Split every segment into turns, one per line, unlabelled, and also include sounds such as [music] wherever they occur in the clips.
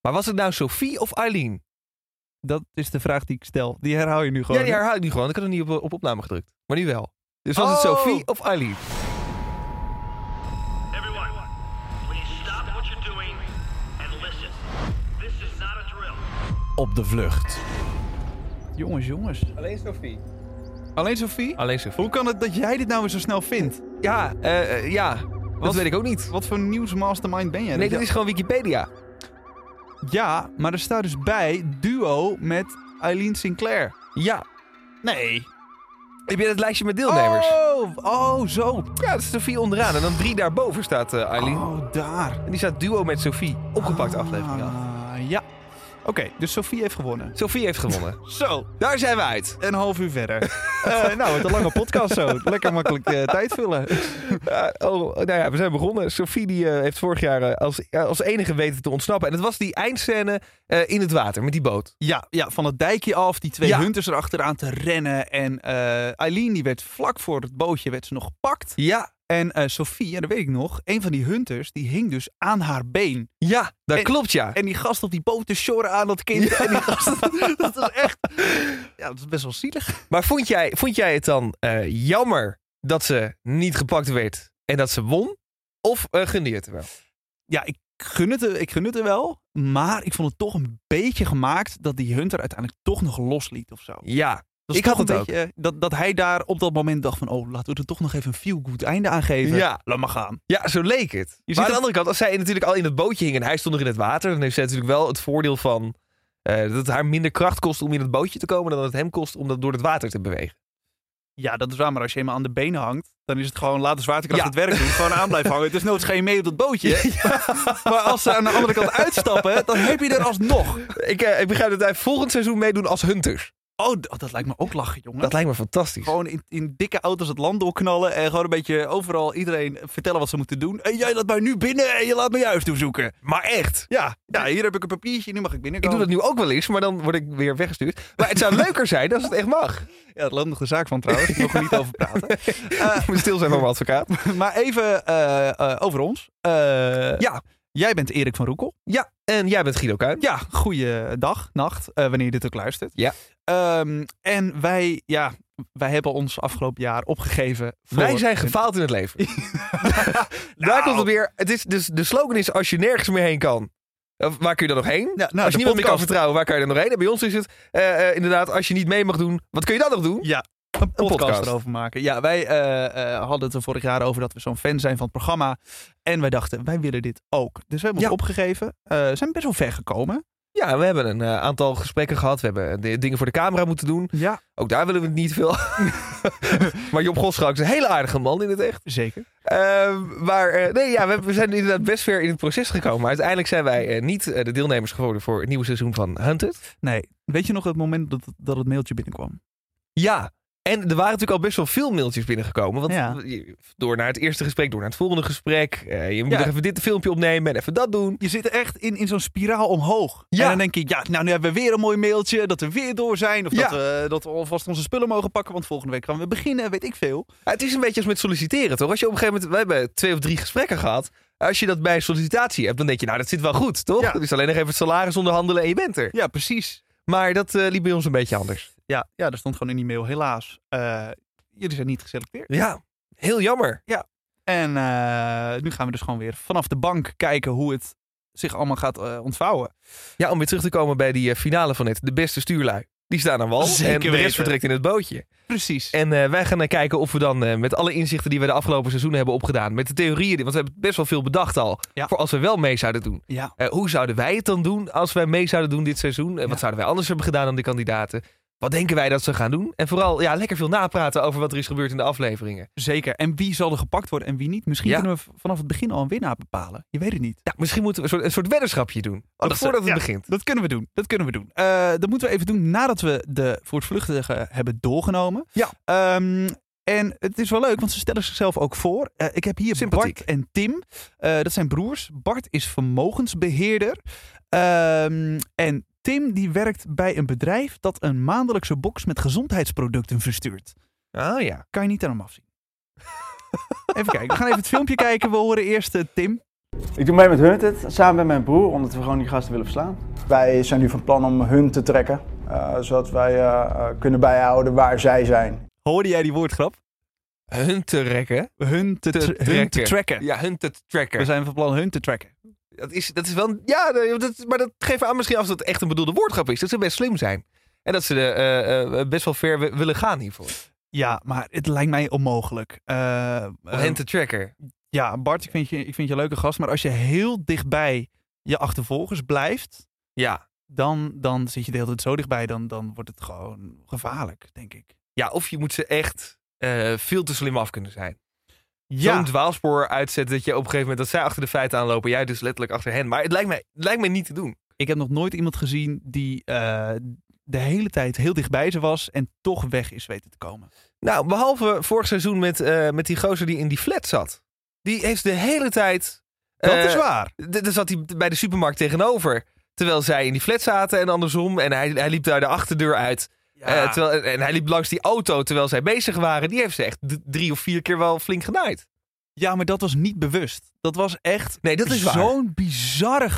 Maar was het nou Sophie of Eileen?
Dat is de vraag die ik stel. Die herhaal je nu gewoon.
Ja, die herhaal ik nu gewoon. Ik had nog niet op, op opname gedrukt. Maar nu wel. Dus was het
Oh.
Sophie of Eileen?
Everyone, please stop what you're doing and listen. This is not a drill.
Op de vlucht.
Jongens, jongens.
Alleen Sophie.
Alleen Sophie?
Alleen Sophie.
Hoe kan het dat jij dit nou weer zo snel vindt?
Ja, eh, eh, ja. Dat
Wat?
weet ik ook niet.
Wat voor nieuwsmastermind ben jij?
Nee,
Dat
dat is gewoon Wikipedia.
je- Ja, maar er staat dus bij duo met Eileen Sinclair.
Ja.
Nee.
Ik ben het lijstje met deelnemers.
Oh, oh zo.
Ja, dat is Sophie onderaan. En dan drie daarboven staat eh, Eileen.
Oh, daar.
En die staat duo met Sophie. Opgepakt aflevering af.
Ah, ja. Oké, dus Sophie heeft gewonnen.
Sophie heeft gewonnen.
Zo,
[laughs] Daar zijn we uit.
een half uur verder. Eh, nou, het een lange podcast zo. Lekker makkelijk eh, tijd vullen.
[laughs] Ja, oh, nou ja, we zijn begonnen. Sophie die, eh, heeft vorig jaar eh, als, ja, als enige weten te ontsnappen. En dat was die eindscène eh, in het water met die boot.
Ja, ja, van het dijkje af, die twee
Ja.
hunters erachteraan te rennen. En eh, Eileen, die werd vlak voor het bootje, werd ze nog gepakt.
Ja,
En eh Sophie, ja, dat weet ik nog, een van die hunters, die hing dus aan haar been.
ja dat
En-
klopt ja.
En die gast op die boot te shoren aan dat kind. En die gast, [laughs] dat was echt, ja, dat is best wel zielig.
Maar vond jij, vond jij het dan eh, jammer dat ze niet gepakt werd en dat ze won? Of eh gunde je het wel?
Ja, ik gun, het, er- ik gun het er wel, maar ik vond het toch een beetje gemaakt dat die hunter uiteindelijk toch nog losliet of zo.
Ja,
Dat is
Ik had
toch een
het
beetje, eh, dat, dat hij daar op dat moment dacht van, oh, laten we er toch nog even een feel-good einde aan geven.
Ja.
Laat maar gaan.
ja zo leek het. maar
ziet
aan de
het-
andere kant, als zij natuurlijk al in het bootje hing en hij stond nog in het water, dan heeft zij natuurlijk wel het voordeel van eh, dat het haar minder kracht kost om in het bootje te komen dan dat het hem kost om dat door het water te bewegen.
Ja, dat is waar, maar als je helemaal aan de benen hangt, dan is het gewoon, laat de zwaartekracht
Ja.
het werk doen. Gewoon aan blijven hangen. Dus noods ga je mee op dat [laughs] bootje. Maar als ze aan de andere kant uitstappen, dan heb je er alsnog.
[laughs] Ik, eh, ik begrijp dat wij volgend seizoen meedoen als hunters.
Oh, d- oh, dat lijkt me ook lachen, jongen.
Dat lijkt me fantastisch.
gewoon in, in dikke auto's het land doorknallen en gewoon een beetje overal iedereen vertellen wat ze moeten doen. En jij laat mij nu binnen en je laat me je huis toezoeken.
Maar echt.
Ja, ja, hier heb ik een papiertje, nu mag ik
Ik
binnenkomen.
doe dat nu ook wel eens, maar dan word ik weer weggestuurd. Maar het
[laughs]
zou leuker zijn als het echt mag.
Ja, het loopt nog de zaak van trouwens, ik mag er niet over [laughs] praten. Eh,
Ik moet stil zijn voor mijn advocaat.
maar even eh, eh, over ons. Eh,
Ja.
Jij bent Erik van Roekel.
Ja, en jij bent Guido Kuin.
Ja, goeie dag, nacht, eh, wanneer je dit ook luistert.
Ja.
Ehm, en wij, ja, wij hebben ons afgelopen jaar opgegeven. Voor Nou.
Wij zijn
een-
gefaald in het
[laughs]
leven. [laughs] Daar komt het weer. Het is, dus de slogan is: als je nergens meer heen kan, eh, waar kun je dan nog heen?
Ja, nou,
als je niemand
de
meer kan
podcast-
vertrouwen, waar kan je dan nog heen? En bij ons is het eh, eh, inderdaad: als je niet mee mag doen, wat kun je dan nog doen?
Ja, een podcast,
podcast.
erover maken. Ja, wij eh, eh, hadden het er vorig jaar over dat we zo'n fan zijn van het programma. En wij dachten, wij willen dit ook. Dus we hebben
Ja.
ons opgegeven. Eh, We zijn best wel ver gekomen.
Ja, we hebben een eh, aantal gesprekken gehad. We hebben eh, de- dingen voor de camera moeten doen.
Ja,
Ook daar willen we het niet
[laughs]
veel. maar Job Goschalk is een hele aardige man in het echt.
zeker.
Eh, maar eh, nee, ja, we, we zijn inderdaad best ver in het proces gekomen. Maar uiteindelijk zijn wij eh, niet eh, de deelnemers geworden voor het nieuwe seizoen van Hunted.
Nee, weet je nog het moment dat, dat het mailtje binnenkwam?
Ja, en er waren natuurlijk al best wel veel mailtjes binnengekomen. Want
Ja.
je- door naar het eerste gesprek, door naar het volgende gesprek. eh, je moet
Ja.
nog even dit filmpje opnemen en even dat doen.
Je zit echt in, in zo'n spiraal omhoog.
Ja.
En dan denk je, ja, nou nu hebben we weer een mooi mailtje. Dat we weer door zijn. Of
Ja.
dat, we, dat we alvast onze spullen mogen pakken. Want volgende week gaan we beginnen, weet ik veel.
Ja, het is een beetje als met solliciteren, toch? Als je op een gegeven moment, we hebben twee of drie gesprekken gehad. Als je dat bij sollicitatie hebt, dan denk je, nou, dat zit wel goed, toch?
Ja.
Het is alleen nog even het salaris onderhandelen en je bent er.
Ja, precies.
Maar dat eh, liep bij ons een beetje anders.
Ja, ja, daar stond gewoon in die mail, helaas. eh, jullie zijn niet geselecteerd.
Ja, heel jammer.
En eh, nu gaan we dus gewoon weer vanaf de bank kijken hoe het zich allemaal gaat eh, ontvouwen.
Ja, om weer terug te komen bij die eh, finale van net. De beste stuurlui. Die staan aan wal.
Zeker
en de
weten.
rest vertrekt in het bootje.
Precies.
En eh, wij gaan eh, kijken of we dan eh, met alle inzichten die we de afgelopen seizoenen hebben opgedaan. Met de theorieën, die- want we hebben best wel veel bedacht al.
Ja.
Voor als we wel mee zouden doen.
ja,
Eh, hoe zouden wij het dan doen als wij mee zouden doen dit seizoen? Eh,
Ja.
Wat zouden wij anders hebben gedaan dan de kandidaten? Wat denken wij dat ze gaan doen? En vooral ja, lekker veel napraten over wat er is gebeurd in de afleveringen.
zeker. En wie zal er gepakt worden en wie niet? Misschien
Ja.
kunnen we v- vanaf het begin al een winnaar bepalen. Je weet het niet.
Ja, misschien moeten we een soort, een soort weddenschapje doen.
dat
nog
is-
voordat het
eh, ja.
begint.
Dat kunnen we doen. Dat kunnen we doen. Eh, dat moeten we even doen nadat we de voortvluchtigen hebben doorgenomen.
Ja.
Ehm, en het is wel leuk, want ze stellen zichzelf ook voor. Eh, ik heb hier
Sympathiek.
Bart en Tim. Eh, dat zijn broers. Bart is vermogensbeheerder. Ehm, en Tim die werkt bij een bedrijf dat een maandelijkse box met gezondheidsproducten verstuurt.
Ah ja.
[laughs] Kan je niet aan hem afzien. even kijken. We gaan even het filmpje kijken. We horen eerst eh, Tim.
Ik doe mee met Hunted, samen met mijn broer, omdat we gewoon die gasten willen verslaan.
Wij zijn nu van plan om hun te trekken, eh, zodat wij eh, eh, kunnen bijhouden waar zij zijn.
Hoorde jij die woordgrap?
Hun te rekken.
Hun te, tra- hun te tracken.
Ja, hun te tracken.
We zijn van plan hun te tracken.
Dat is, dat is wel. een- Ja, nee, dat, maar dat geeft aan misschien af dat het echt een bedoelde woordgrap is. Dat ze best slim zijn. En dat ze eh, eh, best wel ver wi- willen gaan hiervoor.
Ja, maar het lijkt mij onmogelijk. Eh,
Om
eh,
hen te tracken.
ja, Bart, ik vind, je, ik vind je een leuke gast. Maar als je heel dichtbij je achtervolgers blijft,
Ja.
dan, dan zit je de hele tijd zo dichtbij. Dan, dan wordt het gewoon gevaarlijk, denk ik.
ja, of je moet ze echt eh, veel te slim af kunnen zijn.
Ja,
Zo'n dwaalspoor uitzetten dat je op een gegeven moment dat zij achter de feiten aanlopen. Jij dus letterlijk achter hen. Maar het lijkt mij, het lijkt mij niet te doen.
ik heb nog nooit iemand gezien die eh, de hele tijd heel dichtbij ze was en toch weg is weten te komen.
Nou, behalve vorig seizoen met, eh, met die gozer die in die flat zat. Die heeft de hele tijd.
Dat
eh,
is waar.
D- Dan zat hij bij de supermarkt tegenover. Terwijl zij in die flat zaten en andersom. En hij, hij liep daar de achterdeur uit. Eh, terwijl, en hij liep langs die auto terwijl zij bezig waren. Die heeft ze echt d- drie of vier keer wel flink genaaid.
Ja, maar dat was niet bewust. Dat was echt
Nee, dat is waar.
zo'n bizarre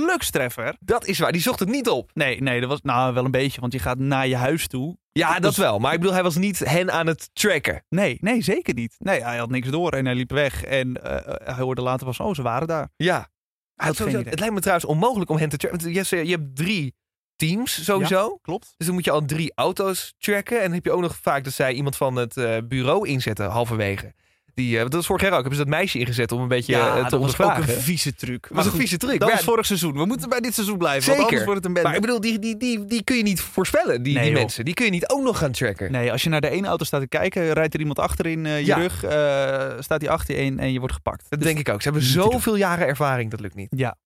gelukstreffer.
Dat is waar. Die zocht het niet op.
Nee, nee, dat was nou wel een beetje, want je gaat naar je huis toe.
Ja, dat
Dus-
wel. Maar ik bedoel, hij was niet hen aan het tracken.
Nee, nee, zeker niet. Nee, hij had niks door en hij liep weg. En eh, eh, hij hoorde later pas, oh, ze waren daar.
Ja.
Hij had geen idee.
het lijkt me trouwens onmogelijk om hen te tracken. Want Je, hebt- je hebt drie teams sowieso.
Klopt.
Dus dan moet je al drie auto's tracken. En dan heb je ook nog vaak dat zij iemand van het eh, bureau inzetten halverwege. Die, eh, dat is vorig jaar ook. Hebben ze dat meisje ingezet om een beetje
Ja,
eh, te
dat was ook
ondervragen.
een vieze truc. Maar
was een
goed,
vieze truc.
Dat
Maar
was
ja,
vorig seizoen. We moeten bij dit seizoen blijven, want
Zeker.
anders wordt het een
Maar ik
bende.
bedoel, die, die, die, die kun je niet voorspellen, die,
Nee,
die
joh.
mensen. Die kun je niet ook nog gaan tracken.
Nee, als je naar de ene auto staat te kijken, rijdt er iemand achterin eh, je
Ja.
rug, eh, staat die achter je en, en je wordt gepakt.
Dat
Dus-
denk ik ook. Ze hebben
niet te
zoveel jaren ervaring, dat lukt niet.
[laughs] Ja.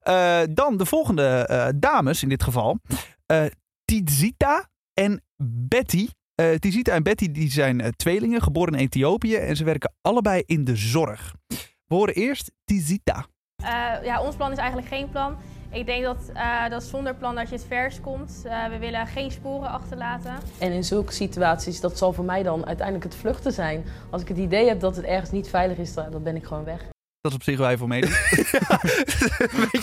Eh, dan de volgende eh, dames in dit geval. Eh, Tizita en Betty. Eh, Tizita en Betty die zijn eh, tweelingen, geboren in Ethiopië. En ze werken allebei in de zorg. We horen eerst Tizita.
Eh, ja, ons plan is eigenlijk geen plan. Ik denk dat, eh, dat zonder plan dat je het vers komt. Eh, we willen geen sporen achterlaten.
En in zulke situaties, dat zal voor mij dan uiteindelijk het vluchten zijn. Als ik het idee heb dat het ergens niet veilig is, dan dan ben ik gewoon weg.
Dat is op zich waar je voor meedoet. [laughs]
Weet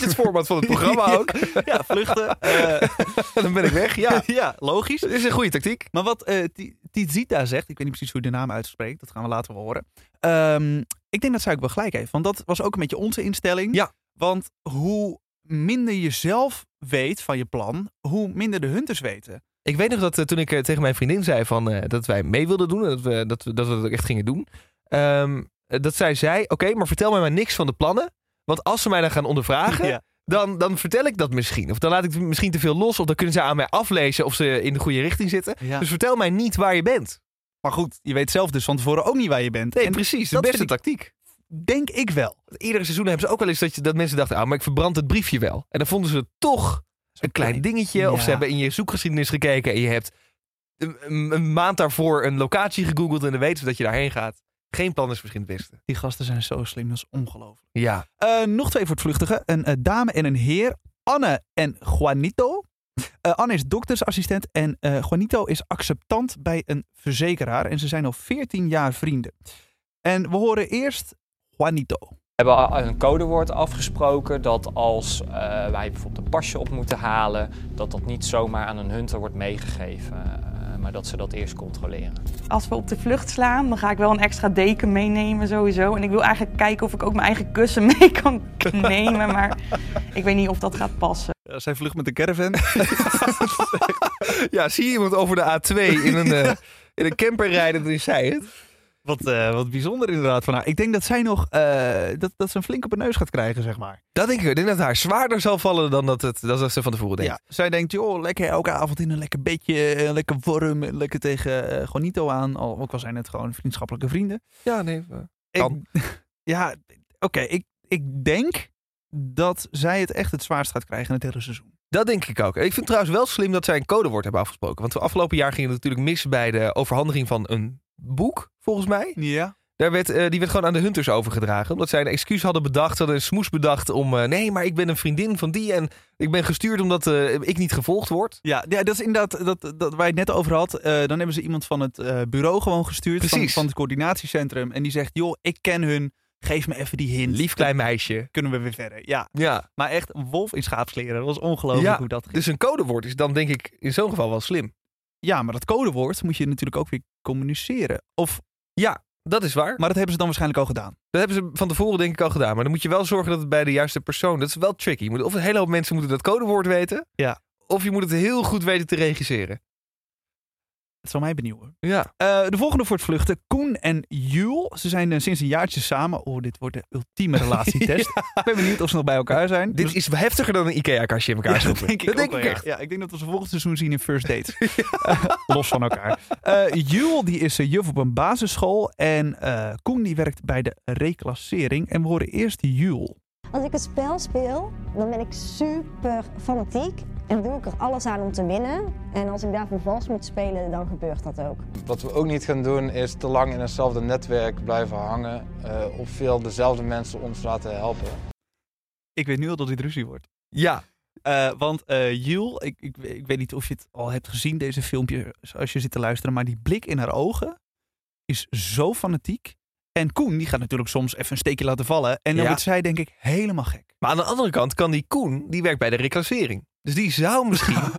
je het format van het programma ook?
ja, vluchten. Eh,
Dan ben ik weg, ja.
[laughs] ja, logisch.
Dat is een goede tactiek.
Maar wat eh, Ti- Tizita zegt, ik weet niet precies hoe je de naam uitspreekt, dat gaan we later wel horen. Ehm, ik denk dat zij ook wel gelijk heeft, want dat was ook een beetje onze instelling.
Ja.
Want hoe minder je zelf weet van je plan, hoe minder de hunters weten.
Ik weet nog dat eh, toen ik eh, tegen mijn vriendin zei van, eh, dat wij mee wilden doen en dat we dat, we, dat, we dat ook echt gingen doen. ehm, eh, dat zij zei, oké, maar vertel mij maar niks van de plannen. Want als ze mij dan gaan ondervragen,
[laughs] Ja.
dan, dan vertel ik dat misschien. Of dan laat ik het misschien te veel los. Of dan kunnen ze aan mij aflezen of ze in de goede richting zitten.
Ja.
Dus vertel mij niet waar je bent.
Maar goed, je weet zelf dus van tevoren ook niet waar je bent.
Nee,
en
precies. De
dat
beste
vind ik-
tactiek.
denk ik wel.
Iedere seizoen hebben ze ook wel eens dat, je, dat mensen dachten... ah, maar ik verbrand het briefje wel. En dan vonden ze toch een klein dingetje. Of ze
Ja.
hebben in je zoekgeschiedenis gekeken... en je hebt een, een- een maand daarvoor een locatie gegoogeld... en dan weten ze dat je daarheen gaat. Geen plan is misschien het beste.
Die gasten zijn zo slim, dat is ongelooflijk.
Ja.
Eh, nog twee voor het vluchtige. Een eh, dame en een heer. Anne en Juanito. Eh, Anne is doktersassistent en eh, Juanito is acceptant bij een verzekeraar. En ze zijn al 14 jaar vrienden. En we horen eerst Juanito.
We hebben al een codewoord afgesproken dat als eh, wij bijvoorbeeld een pasje op moeten halen, dat dat niet zomaar aan een hunter wordt meegegeven, eh, maar dat ze dat eerst controleren.
Als we op de vlucht slaan, dan ga ik wel een extra deken meenemen sowieso. En ik wil eigenlijk kijken of ik ook mijn eigen kussen [laughs] mee kan nemen. Maar ik weet niet of dat gaat passen.
zij vlucht met de caravan.
[laughs]
[laughs]
ja, zie je iemand over de A2 in [laughs] een, eh, in een camper rijden... dan is zij het.
wat, eh, wat bijzonder inderdaad van haar. Ik denk dat zij nog eh, dat, dat ze een flink op haar neus gaat krijgen, zeg maar.
Dat denk ik. Ik denk dat haar zwaarder zal vallen... dan dat, het, dan dat ze van tevoren denkt.
Ja, zij denkt, joh, lekker elke avond in een lekker bedje, een lekker warm, lekker tegen eh, Juanito aan. Al, ook al zijn het gewoon vriendschappelijke vrienden.
Ja, nee. eh,
Ik-
Kan.
[laughs] ja, oké. ik, ik denk dat zij het echt het zwaarst gaat krijgen in het hele seizoen.
Dat denk ik ook. Ik vind het trouwens wel slim dat zij een codewoord hebben afgesproken. Want afgelopen jaar ging het natuurlijk mis bij de overhandiging van een boek, volgens mij.
Ja.
Daar werd, eh, die werd gewoon aan de hunters overgedragen. Omdat zij een excuus hadden bedacht, ze hadden een smoes bedacht om... eh, nee, maar ik ben een vriendin van die en ik ben gestuurd omdat eh, ik niet gevolgd word.
Ja, ja, dat is inderdaad dat, dat waar je het net over had. Eh, dan hebben ze iemand van het eh, bureau gewoon gestuurd. Van,
Precies.
van het coördinatiecentrum. En die zegt, joh, ik ken hun. Geef me even die hint.
Lief klein meisje.
Kunnen we weer verder. Ja,
Ja.
maar echt een wolf in schaapskleren. Dat was ongelooflijk
Ja,
hoe dat ging.
Dus een codewoord is dan denk ik in zo'n geval wel slim.
ja, maar dat codewoord moet je natuurlijk ook weer communiceren. Of,
Dat is waar.
maar dat hebben ze dan waarschijnlijk al gedaan.
Dat hebben ze van tevoren denk ik al gedaan. Maar dan moet je wel zorgen dat het bij de juiste persoon... Dat is wel tricky. Je moet- Of een hele hoop mensen moeten dat codewoord weten.
Ja.
Of je moet het heel goed weten te regisseren.
Het zal mij benieuwen.
Ja.
Eh, de volgende voor het vluchten. Koen en Jule. Ze zijn eh, sinds een jaartje samen. Oh, dit wordt de ultieme [laughs] relatietest. Ik ben benieuwd of ze nog bij elkaar zijn.
Dit is heftiger dan een Ikea-kastje in elkaar
Ja, dat
stoppen.
denk ik, ook wel, ja.
echt.
Ja, ik denk dat we ze volgend seizoen zien in First Dates. [laughs] Eh, Los van elkaar. Eh Jule die is eh, juf op een basisschool. En eh, Koen die werkt bij de reclassering. En we horen eerst Jule.
Als ik een spel speel, dan ben ik super fanatiek en doe ik er alles aan om te winnen. En als ik daarvoor vals moet spelen, dan gebeurt dat ook.
Wat we ook niet gaan doen is te lang in hetzelfde netwerk blijven hangen eh, of veel dezelfde mensen ons laten helpen.
Ik weet nu al dat dit ruzie wordt.
Ja.
Eh, want eh Jule, ik, ik, ik weet niet of je het al hebt gezien, deze filmpje, als je zit te luisteren, maar die blik in haar ogen is zo fanatiek. En Koen, die gaat natuurlijk soms even een steekje laten vallen. En dan
Ja.
wordt zij, denk ik, helemaal gek.
Maar aan de andere kant kan die Koen, die werkt bij de reclassering. Dus die zou misschien...
[laughs]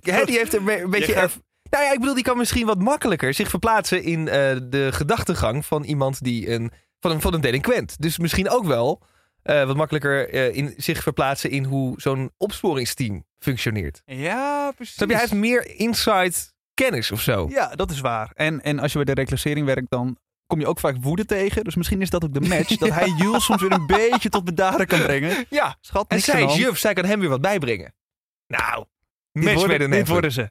hè, die heeft een be- een beetje...
gaat-
erv- Nou ja, ik bedoel, die kan misschien wat makkelijker zich verplaatsen in eh, de gedachtegang van iemand die een... Van een, van een delinquent. Dus misschien ook wel eh, wat makkelijker eh, in, zich verplaatsen in hoe zo'n opsporingsteam functioneert.
Ja, precies.
Snap je? Hij heeft meer insight kennis of zo.
Ja, dat is waar. En, en als je bij de reclassering werkt, dan kom je ook vaak woede tegen. Dus misschien is dat ook de match,
[laughs]
dat hij Jule soms weer een beetje tot bedaren kan brengen.
Ja.
Schat,
En
niks
zij
aan de
is
hand.
juf, zij kan hem weer wat bijbrengen. Nou,
Dit
match
worden,
made in
dit
heaven.
worden [laughs] ze.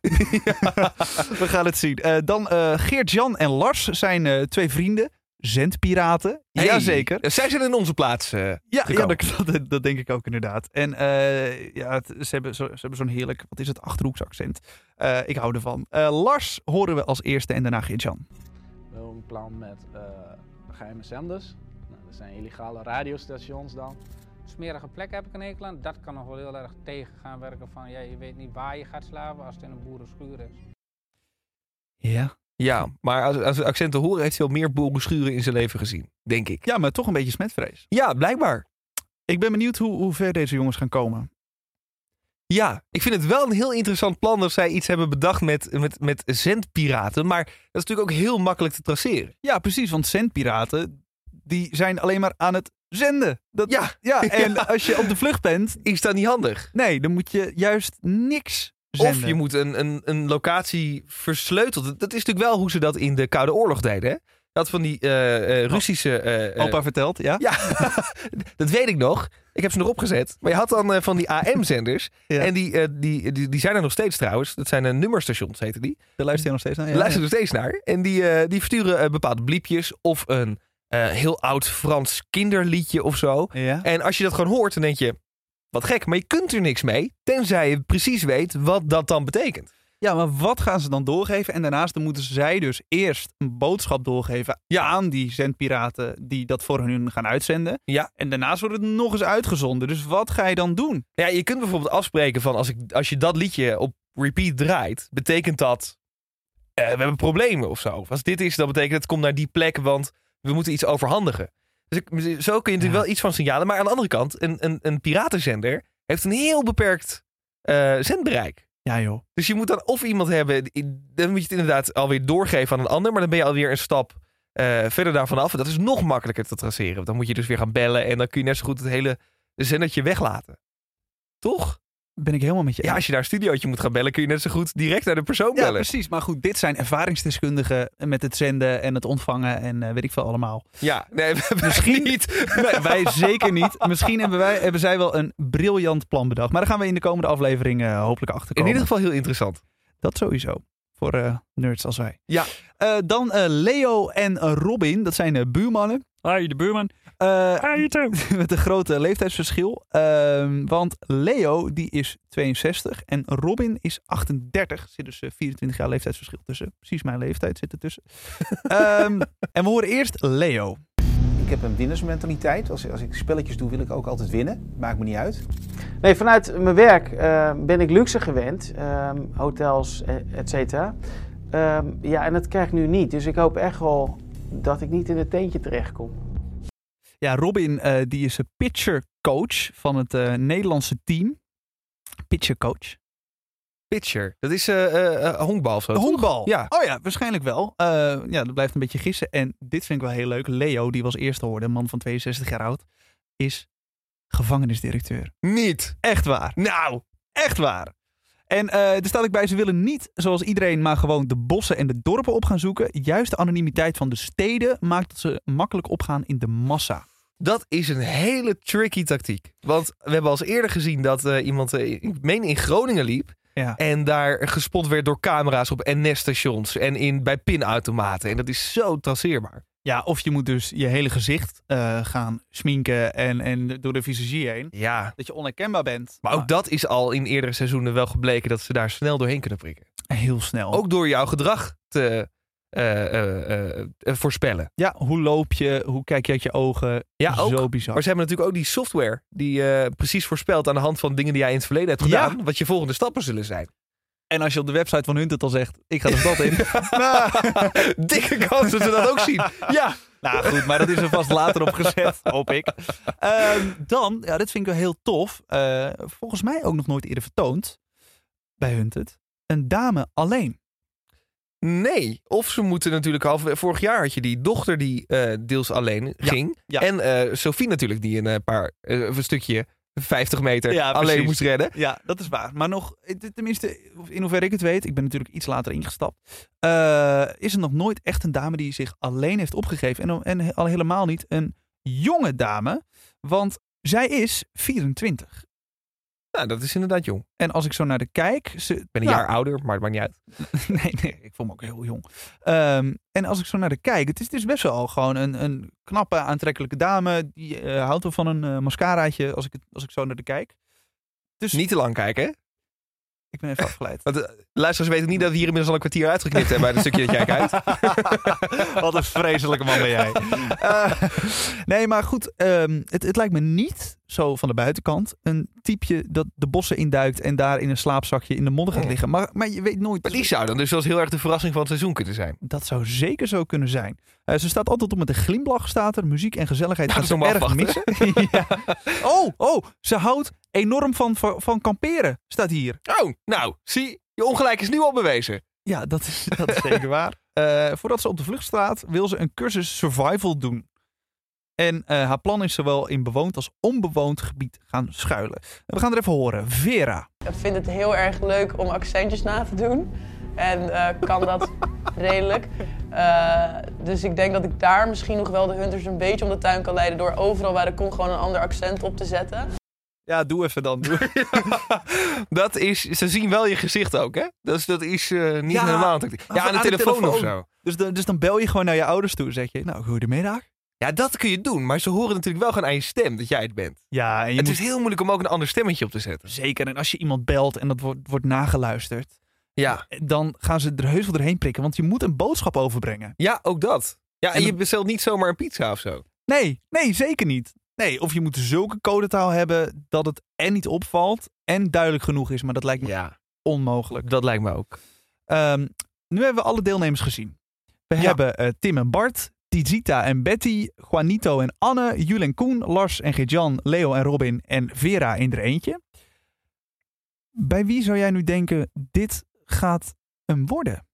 We gaan het zien. Eh, dan eh, Geert-Jan en Lars zijn eh, twee vrienden. Zendpiraten.
Hey,
Jazeker.
Zij zijn in onze plaats. eh.
Ja, ja
gekomen.
dat, dat, dat denk ik ook inderdaad. En eh, ja, het- ze hebben, zo, ze hebben zo'n heerlijk, wat is het, Achterhoeks accent. Eh, ik hou ervan. Eh, Lars horen we als eerste en daarna Geert-Jan.
Wel een plan met geheime zenders. dat zijn illegale radiostations dan.
Smerige plek heb ik een hekel aan. Dat kan nog wel heel erg tegen gaan werken van... Ja, je weet niet waar je gaat slapen als het in een boerenschuur is.
Ja.
Ja, maar als, als we accenten horen, heeft hij wel meer boerenschuren in zijn leven gezien. Denk ik.
Ja, maar toch een beetje smetvrees.
Ja, blijkbaar.
Ik ben benieuwd hoe, hoe ver deze jongens gaan komen.
Ja, ik vind het wel een heel interessant plan dat zij iets hebben bedacht met, met, met zendpiraten. Maar dat is natuurlijk ook heel makkelijk te traceren.
Ja, precies, want zendpiraten, die zijn alleen maar aan het zenden. Dat,
Ja.
[laughs] ja, en
Ja.
als je op de vlucht bent,
Is dat niet handig?
Nee, dan moet je juist niks zenden.
Of je moet een, een, een locatie versleutelen. Dat- Dat is natuurlijk wel hoe ze dat in de Koude Oorlog deden. Hè? Dat van die eh, eh, Russische... eh, eh,
Oh. Opa vertelt, ja?
Ja, dat weet ik nog. Ik heb ze nog opgezet. Maar je had dan eh, van die AM-zenders.
Ja.
En die, eh, die, die, die zijn er nog steeds trouwens. Dat zijn eh, nummerstations, heten die.
Daar luister je nog steeds naar. Ja.
Luister er steeds naar. En die, eh, die versturen eh, bepaalde bliepjes of een eh, heel oud Frans kinderliedje of zo.
Ja.
En als je dat gewoon hoort, dan denk je, wat gek, maar je kunt er niks mee. Tenzij je precies weet wat dat dan betekent.
ja, maar wat gaan ze dan doorgeven? En daarnaast dan moeten zij dus eerst een boodschap doorgeven aan die zendpiraten die dat voor hun gaan uitzenden.
Ja.
En daarnaast wordt het nog eens uitgezonden. Dus wat ga je dan doen?
Ja, je kunt bijvoorbeeld afspreken van als, ik, als je dat liedje op repeat draait, betekent dat eh, we hebben problemen of zo. Of Als dit is, dan betekent het komt naar die plek, want we moeten iets overhandigen. Dus ik, zo kun je natuurlijk
Ja.
wel iets van signalen. Maar aan de andere kant, een, een, een piratenzender heeft een heel beperkt eh, zendbereik.
Ja joh.
Dus je moet dan of iemand hebben, die- dan moet je het inderdaad alweer doorgeven aan een ander, maar dan ben je alweer een stap eh, verder daarvan af. En dat is nog makkelijker te traceren. Want dan moet je dus weer gaan bellen en dan kun je net zo goed het hele zendertje weglaten. Toch?
Ben ik helemaal met je
Ja,
eens.
als je naar een studiootje moet gaan bellen, kun je net zo goed direct naar de persoon
Ja,
bellen.
precies. Maar goed, dit zijn ervaringsdeskundigen met het zenden en het ontvangen en eh, weet ik veel allemaal.
Ja, nee, [laughs] misschien
Misschien-
niet.
Nee, wij zeker niet. Misschien hebben, wij, hebben zij wel een briljant plan bedacht. Maar daar gaan we in de komende aflevering eh, hopelijk achter komen.
In ieder geval heel interessant.
Dat sowieso. Voor eh, nerds als wij.
Ja.
Eh, dan eh, Leo en eh, Robin. Dat zijn eh, buurmannen. Hi, de buurman. [laughs] met een grote leeftijdsverschil. Ehm, want Leo die is 62 en Robin is 38. Er zit dus eh, 24 jaar leeftijdsverschil tussen. Precies mijn leeftijd zit er tussen. Ehm, en we horen eerst Leo.
Ik heb een winnersmentaliteit. Als, als ik spelletjes doe, wil ik ook altijd winnen. Maakt me niet uit.
Nee, vanuit mijn werk eh, ben ik luxe gewend, ehm, hotels, eh, et cetera. Ehm, ja, en dat krijg ik nu niet. Dus ik hoop echt wel dat ik niet in het teentje terechtkom.
Ja, Robin eh, die is een pitchercoach van het eh, Nederlandse team. Pitchercoach.
Pitcher. Dat is eh eh, eh, honkbal of zo.
De honkbal.
Ja.
Oh ja, waarschijnlijk wel. Eh, ja, dat blijft een beetje gissen. En dit vind ik wel heel leuk. Leo, die was eerste hoorde, een man van 62 jaar oud, is gevangenisdirecteur.
Niet.
Echt waar.
Nou.
Echt waar. En eh er staat ook bij, ze willen niet, zoals iedereen, maar gewoon de bossen en de dorpen op gaan zoeken. Juist de anonimiteit van de steden maakt dat ze makkelijk opgaan in de massa.
Dat is een hele tricky tactiek. Want we hebben al eens eerder gezien dat eh, iemand, eh, ik meen in Groningen liep.
Ja.
En daar gespot werd door camera's op NS-stations en in, bij pinautomaten. En dat is zo traceerbaar.
Ja, of je moet dus je hele gezicht eh, gaan sminken en, en door de visagie heen.
Ja.
Dat je onherkenbaar bent. Ah,
Maar ook dat is al in eerdere seizoenen wel gebleken dat ze daar snel doorheen kunnen prikken.
Heel snel.
Ook door jouw gedrag te eh, eh, eh, eh, voorspellen.
Ja, hoe loop je? Hoe kijk je uit je ogen?
Ja, ook.
Zo bizar.
Maar ze hebben natuurlijk ook die software die eh, precies voorspelt aan de hand van dingen die jij in het verleden hebt
Ja.
gedaan. Wat je volgende stappen zullen zijn.
En als je op de website van hun het al zegt, ik ga de stad in. [laughs] Nou,
[laughs] Dikke kans dat ze dat ook zien. Ja.
Nou goed, maar dat is er vast later op gezet, hoop ik. Ehm, dan, ja, dit vind ik wel heel tof. eh, volgens mij ook nog nooit eerder vertoond bij Hunted. Een dame alleen.
Nee, of ze moeten natuurlijk half. Vorig jaar had je die dochter die eh, deels alleen ging.
ja.
En eh, Sophie natuurlijk, die een eh, paar eh, een stukje 50 meter
Ja,
alleen
precies.
moest redden.
Ja, dat is waar. Maar nog, eh, tenminste, in hoeverre ik het weet, ik ben natuurlijk iets later ingestapt. eh, is er nog nooit echt een dame die zich alleen heeft opgegeven. En, en al helemaal niet een jonge dame. Want zij is 24.
Nou, dat is inderdaad jong.
En als ik zo naar de kijk. Ze, ik
ben een jaar ouder, maar het maakt niet uit.
[laughs] nee, nee, ik voel me ook heel jong. Ehm, en als ik zo naar de kijk, het is dus best wel gewoon een, een knappe, aantrekkelijke dame. Die eh, houdt wel van een eh, mascaraatje als ik, het- als ik zo naar de kijk. Dus
Niet te lang kijken, hè?
ik ben even
[laughs]
afgeleid.
Want eh, luisteraars weten niet dat we hier inmiddels al een kwartier uitgeknipt hebben bij het stukje dat jij
[laughs]
kijkt.
Wat een vreselijke man ben jij. Eh, nee, maar goed. ehm, het, het lijkt me niet zo van de buitenkant. Een typeje dat de bossen induikt en daar in een slaapzakje in de modder gaat liggen. Maar, maar je weet nooit.
Maar die zou dan dus wel eens heel erg de verrassing van het seizoen kunnen zijn.
Dat zou zeker zo kunnen zijn. Eh, ze staat altijd op met een glimlach, staat er. Muziek en gezelligheid
Nou,
gaat ze
dat is
erg
nog maar
missen. [laughs] ja. Oh, oh, ze houdt enorm van, van, van kamperen, staat hier.
Oh, nou, zie, je ongelijk is nu al bewezen.
[laughs] Ja, dat is, dat is [laughs] zeker waar. Eh, voordat ze op de vlucht staat, wil ze een cursus survival doen. En eh, haar plan is zowel in bewoond als onbewoond gebied gaan schuilen. We gaan er even horen. Vera.
Ik vind het heel erg leuk om accentjes na te doen. En eh, kan
[laughs]
dat redelijk. Eh, dus ik denk dat ik daar misschien nog wel de hunters een beetje om de tuin kan leiden... door overal waar ik kon gewoon een ander accent op te zetten.
Ja, doe even dan. Doe.
Dat is, ze zien wel je gezicht ook, hè? Dus dat is eh, niet
Ja,
helemaal een tactiek.
aan
Ja, aan de, telefoon, of zo.
[laughs] Dus dan, dus dan bel je gewoon naar je ouders toe en zeg je, nou, goedemiddag.
Ja, dat kun je doen, maar ze horen natuurlijk wel gewoon aan je stem dat jij het bent.
Ja, en je
het
moet-
is heel moeilijk om ook een ander stemmetje op te zetten.
Zeker, en als je iemand belt en dat wordt, wordt nageluisterd,
Ja,
dan gaan ze er heus wel doorheen prikken, want je moet een boodschap overbrengen.
ja ook dat. Ja, en,
En
je
dan-
bestelt niet zomaar een pizza of zo.
Nee, nee, zeker niet. Nee, of je moet zulke codetaal hebben dat het en niet opvalt en duidelijk genoeg is, maar dat lijkt me
Ja,
onmogelijk.
dat lijkt me ook.
Ehm, nu hebben we alle deelnemers gezien. We hebben eh, Tim en Bart, Tizita en Betty, Juanito en Anne, Jul en Koen, Lars en Gejan, Leo en Robin en Vera in er eentje. Bij wie zou jij nu denken, dit gaat hem worden?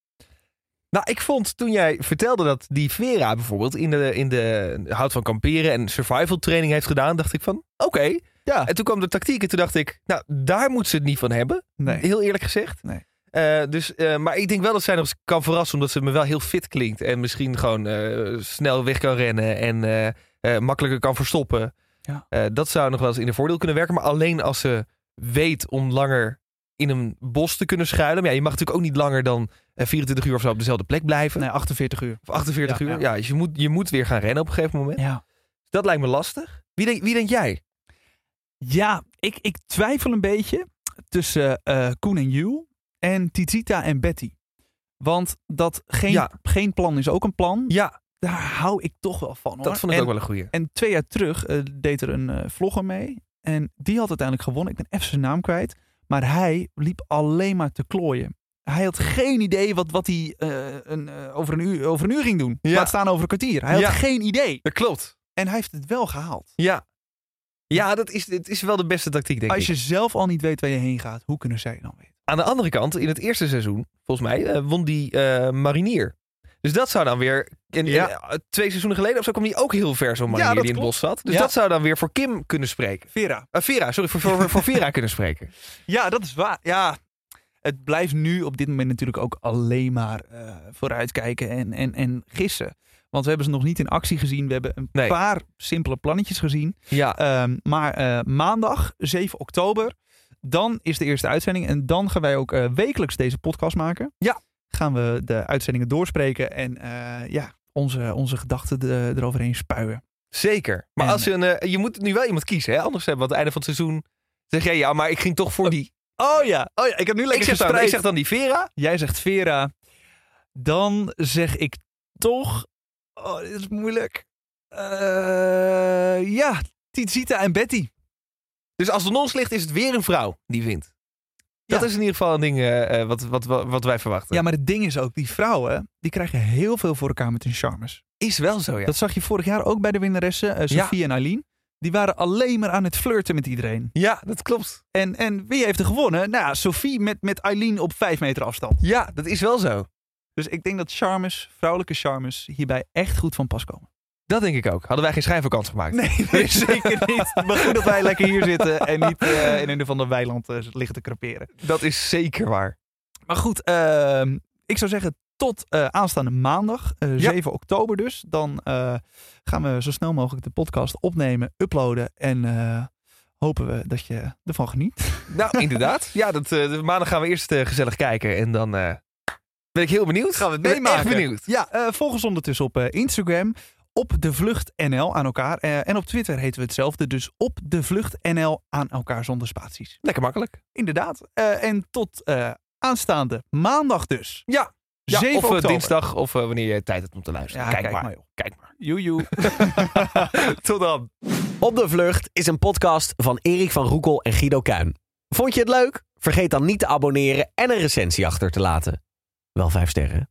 Nou, ik vond toen jij vertelde dat die Vera bijvoorbeeld in de, in de hout van kamperen en survival training heeft gedaan, dacht ik van, oké.
Ja.
En toen kwam de tactiek en toen dacht ik, nou, daar moet ze het niet van hebben.
Nee.
Heel eerlijk gezegd.
Nee.
Eh, dus, eh, maar ik denk wel dat zij nog eens kan verrassen, omdat ze me wel heel fit klinkt. En misschien gewoon eh, snel weg kan rennen en eh, eh, makkelijker kan verstoppen.
Ja.
Eh, dat zou nog wel eens in een voordeel kunnen werken. Maar alleen als ze weet om langer in een bos te kunnen schuilen. Maar ja, je mag natuurlijk ook niet langer dan eh, 24 uur of zo op dezelfde plek blijven.
Nee, 48 uur.
Of 48
Ja,
uur.
ja.
Ja, dus je moet, je moet weer gaan rennen op een gegeven moment.
Ja.
Dat lijkt me lastig. Wie, denk- wie denk jij?
Ja, ik, ik twijfel een beetje tussen eh, Koen en Jules en Tizita en Betty. Want dat geen,
Ja.
geen plan is ook een plan.
Ja,
Daar hou ik toch wel van. Hoor.
dat vond ik
en,
ook wel een goeie.
En twee jaar terug eh, deed er een eh, vlogger mee. En die had uiteindelijk gewonnen. Ik ben even zijn naam kwijt. Maar hij liep alleen maar te klooien. Hij had geen idee wat, wat hij eh, een, eh, over, een uur, over een uur ging doen.
Ja.
Laat staan over een kwartier. Hij
Ja.
had geen idee.
Dat klopt.
En hij heeft het wel gehaald.
Ja. Ja, dat is, het is wel de beste tactiek, denk
Hm. Als
ik.
je zelf al niet weet waar je heen gaat, hoe kunnen zij het nou dan weten?
Aan de andere kant, in het eerste seizoen, volgens mij, eh, won die eh, Marinier. Dus dat zou dan weer... En,
Ja.
en, eh, twee seizoenen geleden of zo kwam die ook heel ver, zo'n Marinier
dat
die in het
klopt.
bos zat. Dus
Ja.
dat zou dan weer voor Kim kunnen spreken.
Vera.
Eh, Vera, sorry, voor, voor, voor
[laughs]
Vera kunnen spreken.
Ja, dat is waar. Ja, het blijft nu op dit moment natuurlijk ook alleen maar eh, vooruitkijken en, en, en gissen. Want we hebben ze nog niet in actie gezien. We hebben een paar simpele plannetjes gezien.
Ja.
maar eh, maandag, 7 oktober, dan is de eerste uitzending. En dan gaan wij ook eh, wekelijks deze podcast maken.
Ja.
Gaan we de uitzendingen doorspreken en eh, ja, onze, onze gedachten de- eroverheen spuien.
Zeker. Maar als je, een, eh, je moet nu wel iemand kiezen, hè? anders hebben we aan het einde van het seizoen... Zeg jij, ja, maar ik ging toch voor die...
Oh ja, oh ja ik heb nu lekker
ik zeg, dan, ik
gespreid.
zeg dan die Vera.
Jij zegt Vera. Dan zeg ik toch. Oh, dit is moeilijk. Eh, ja, Tizita en Betty.
Dus als het aan ons ligt, is het weer een vrouw die wint. Dat is in ieder geval een ding eh, eh, wat, wat, wat, wat wij verwachten.
Ja, maar het ding is ook, die vrouwen, die krijgen heel veel voor elkaar met hun charmes.
Is wel zo, ja.
Dat zag je vorig jaar ook bij de winnaressen, eh, Sophie en Aileen. Die waren alleen maar aan het flirten met iedereen.
Ja, dat klopt.
En, en wie heeft er gewonnen? Nou, ja, Sophie met, met Aileen op vijf meter afstand.
Ja, dat is wel zo.
Dus ik denk dat charmes, vrouwelijke charmes, hierbij echt goed van pas komen.
Dat denk ik ook. Hadden wij geen schijnvakantie gemaakt.
Nee, nee, zeker
[laughs]
niet. Maar goed dat wij lekker hier zitten en niet eh, in een of ander weiland eh, liggen te creperen.
Dat is zeker waar.
Maar goed, ehm, ik zou zeggen tot eh, aanstaande maandag, eh, 7 oktober dus. Dan eh, gaan we zo snel mogelijk de podcast opnemen, uploaden en eh, hopen we dat je
[laughs]
ervan geniet.
Nou, inderdaad. Ja, dat, eh, de maandag gaan we eerst eh, gezellig kijken. En dan eh, ben ik heel benieuwd. Gaan we het
meemaken.
echt benieuwd.
Ja, eh volg ons ondertussen op eh, Instagram. Op de Vlucht NL aan elkaar. Eh, en op Twitter heten we hetzelfde. Dus op de Vlucht NL aan elkaar zonder spaties.
Lekker makkelijk.
Inderdaad. Eh, en tot eh, aanstaande maandag dus.
Ja. Ja,
7
of eh,
oktober.
dinsdag of eh, wanneer je tijd hebt om te luisteren.
Ja,
kijk,
kijk
maar.
maar, joh.
Kijk maar.
Joejoe.
Tot dan.
Op de Vlucht is een podcast van Erik van Roekel en Guido Kuin. Vond je het leuk? Vergeet dan niet te abonneren en een recensie achter te laten. Wel vijf sterren. hè?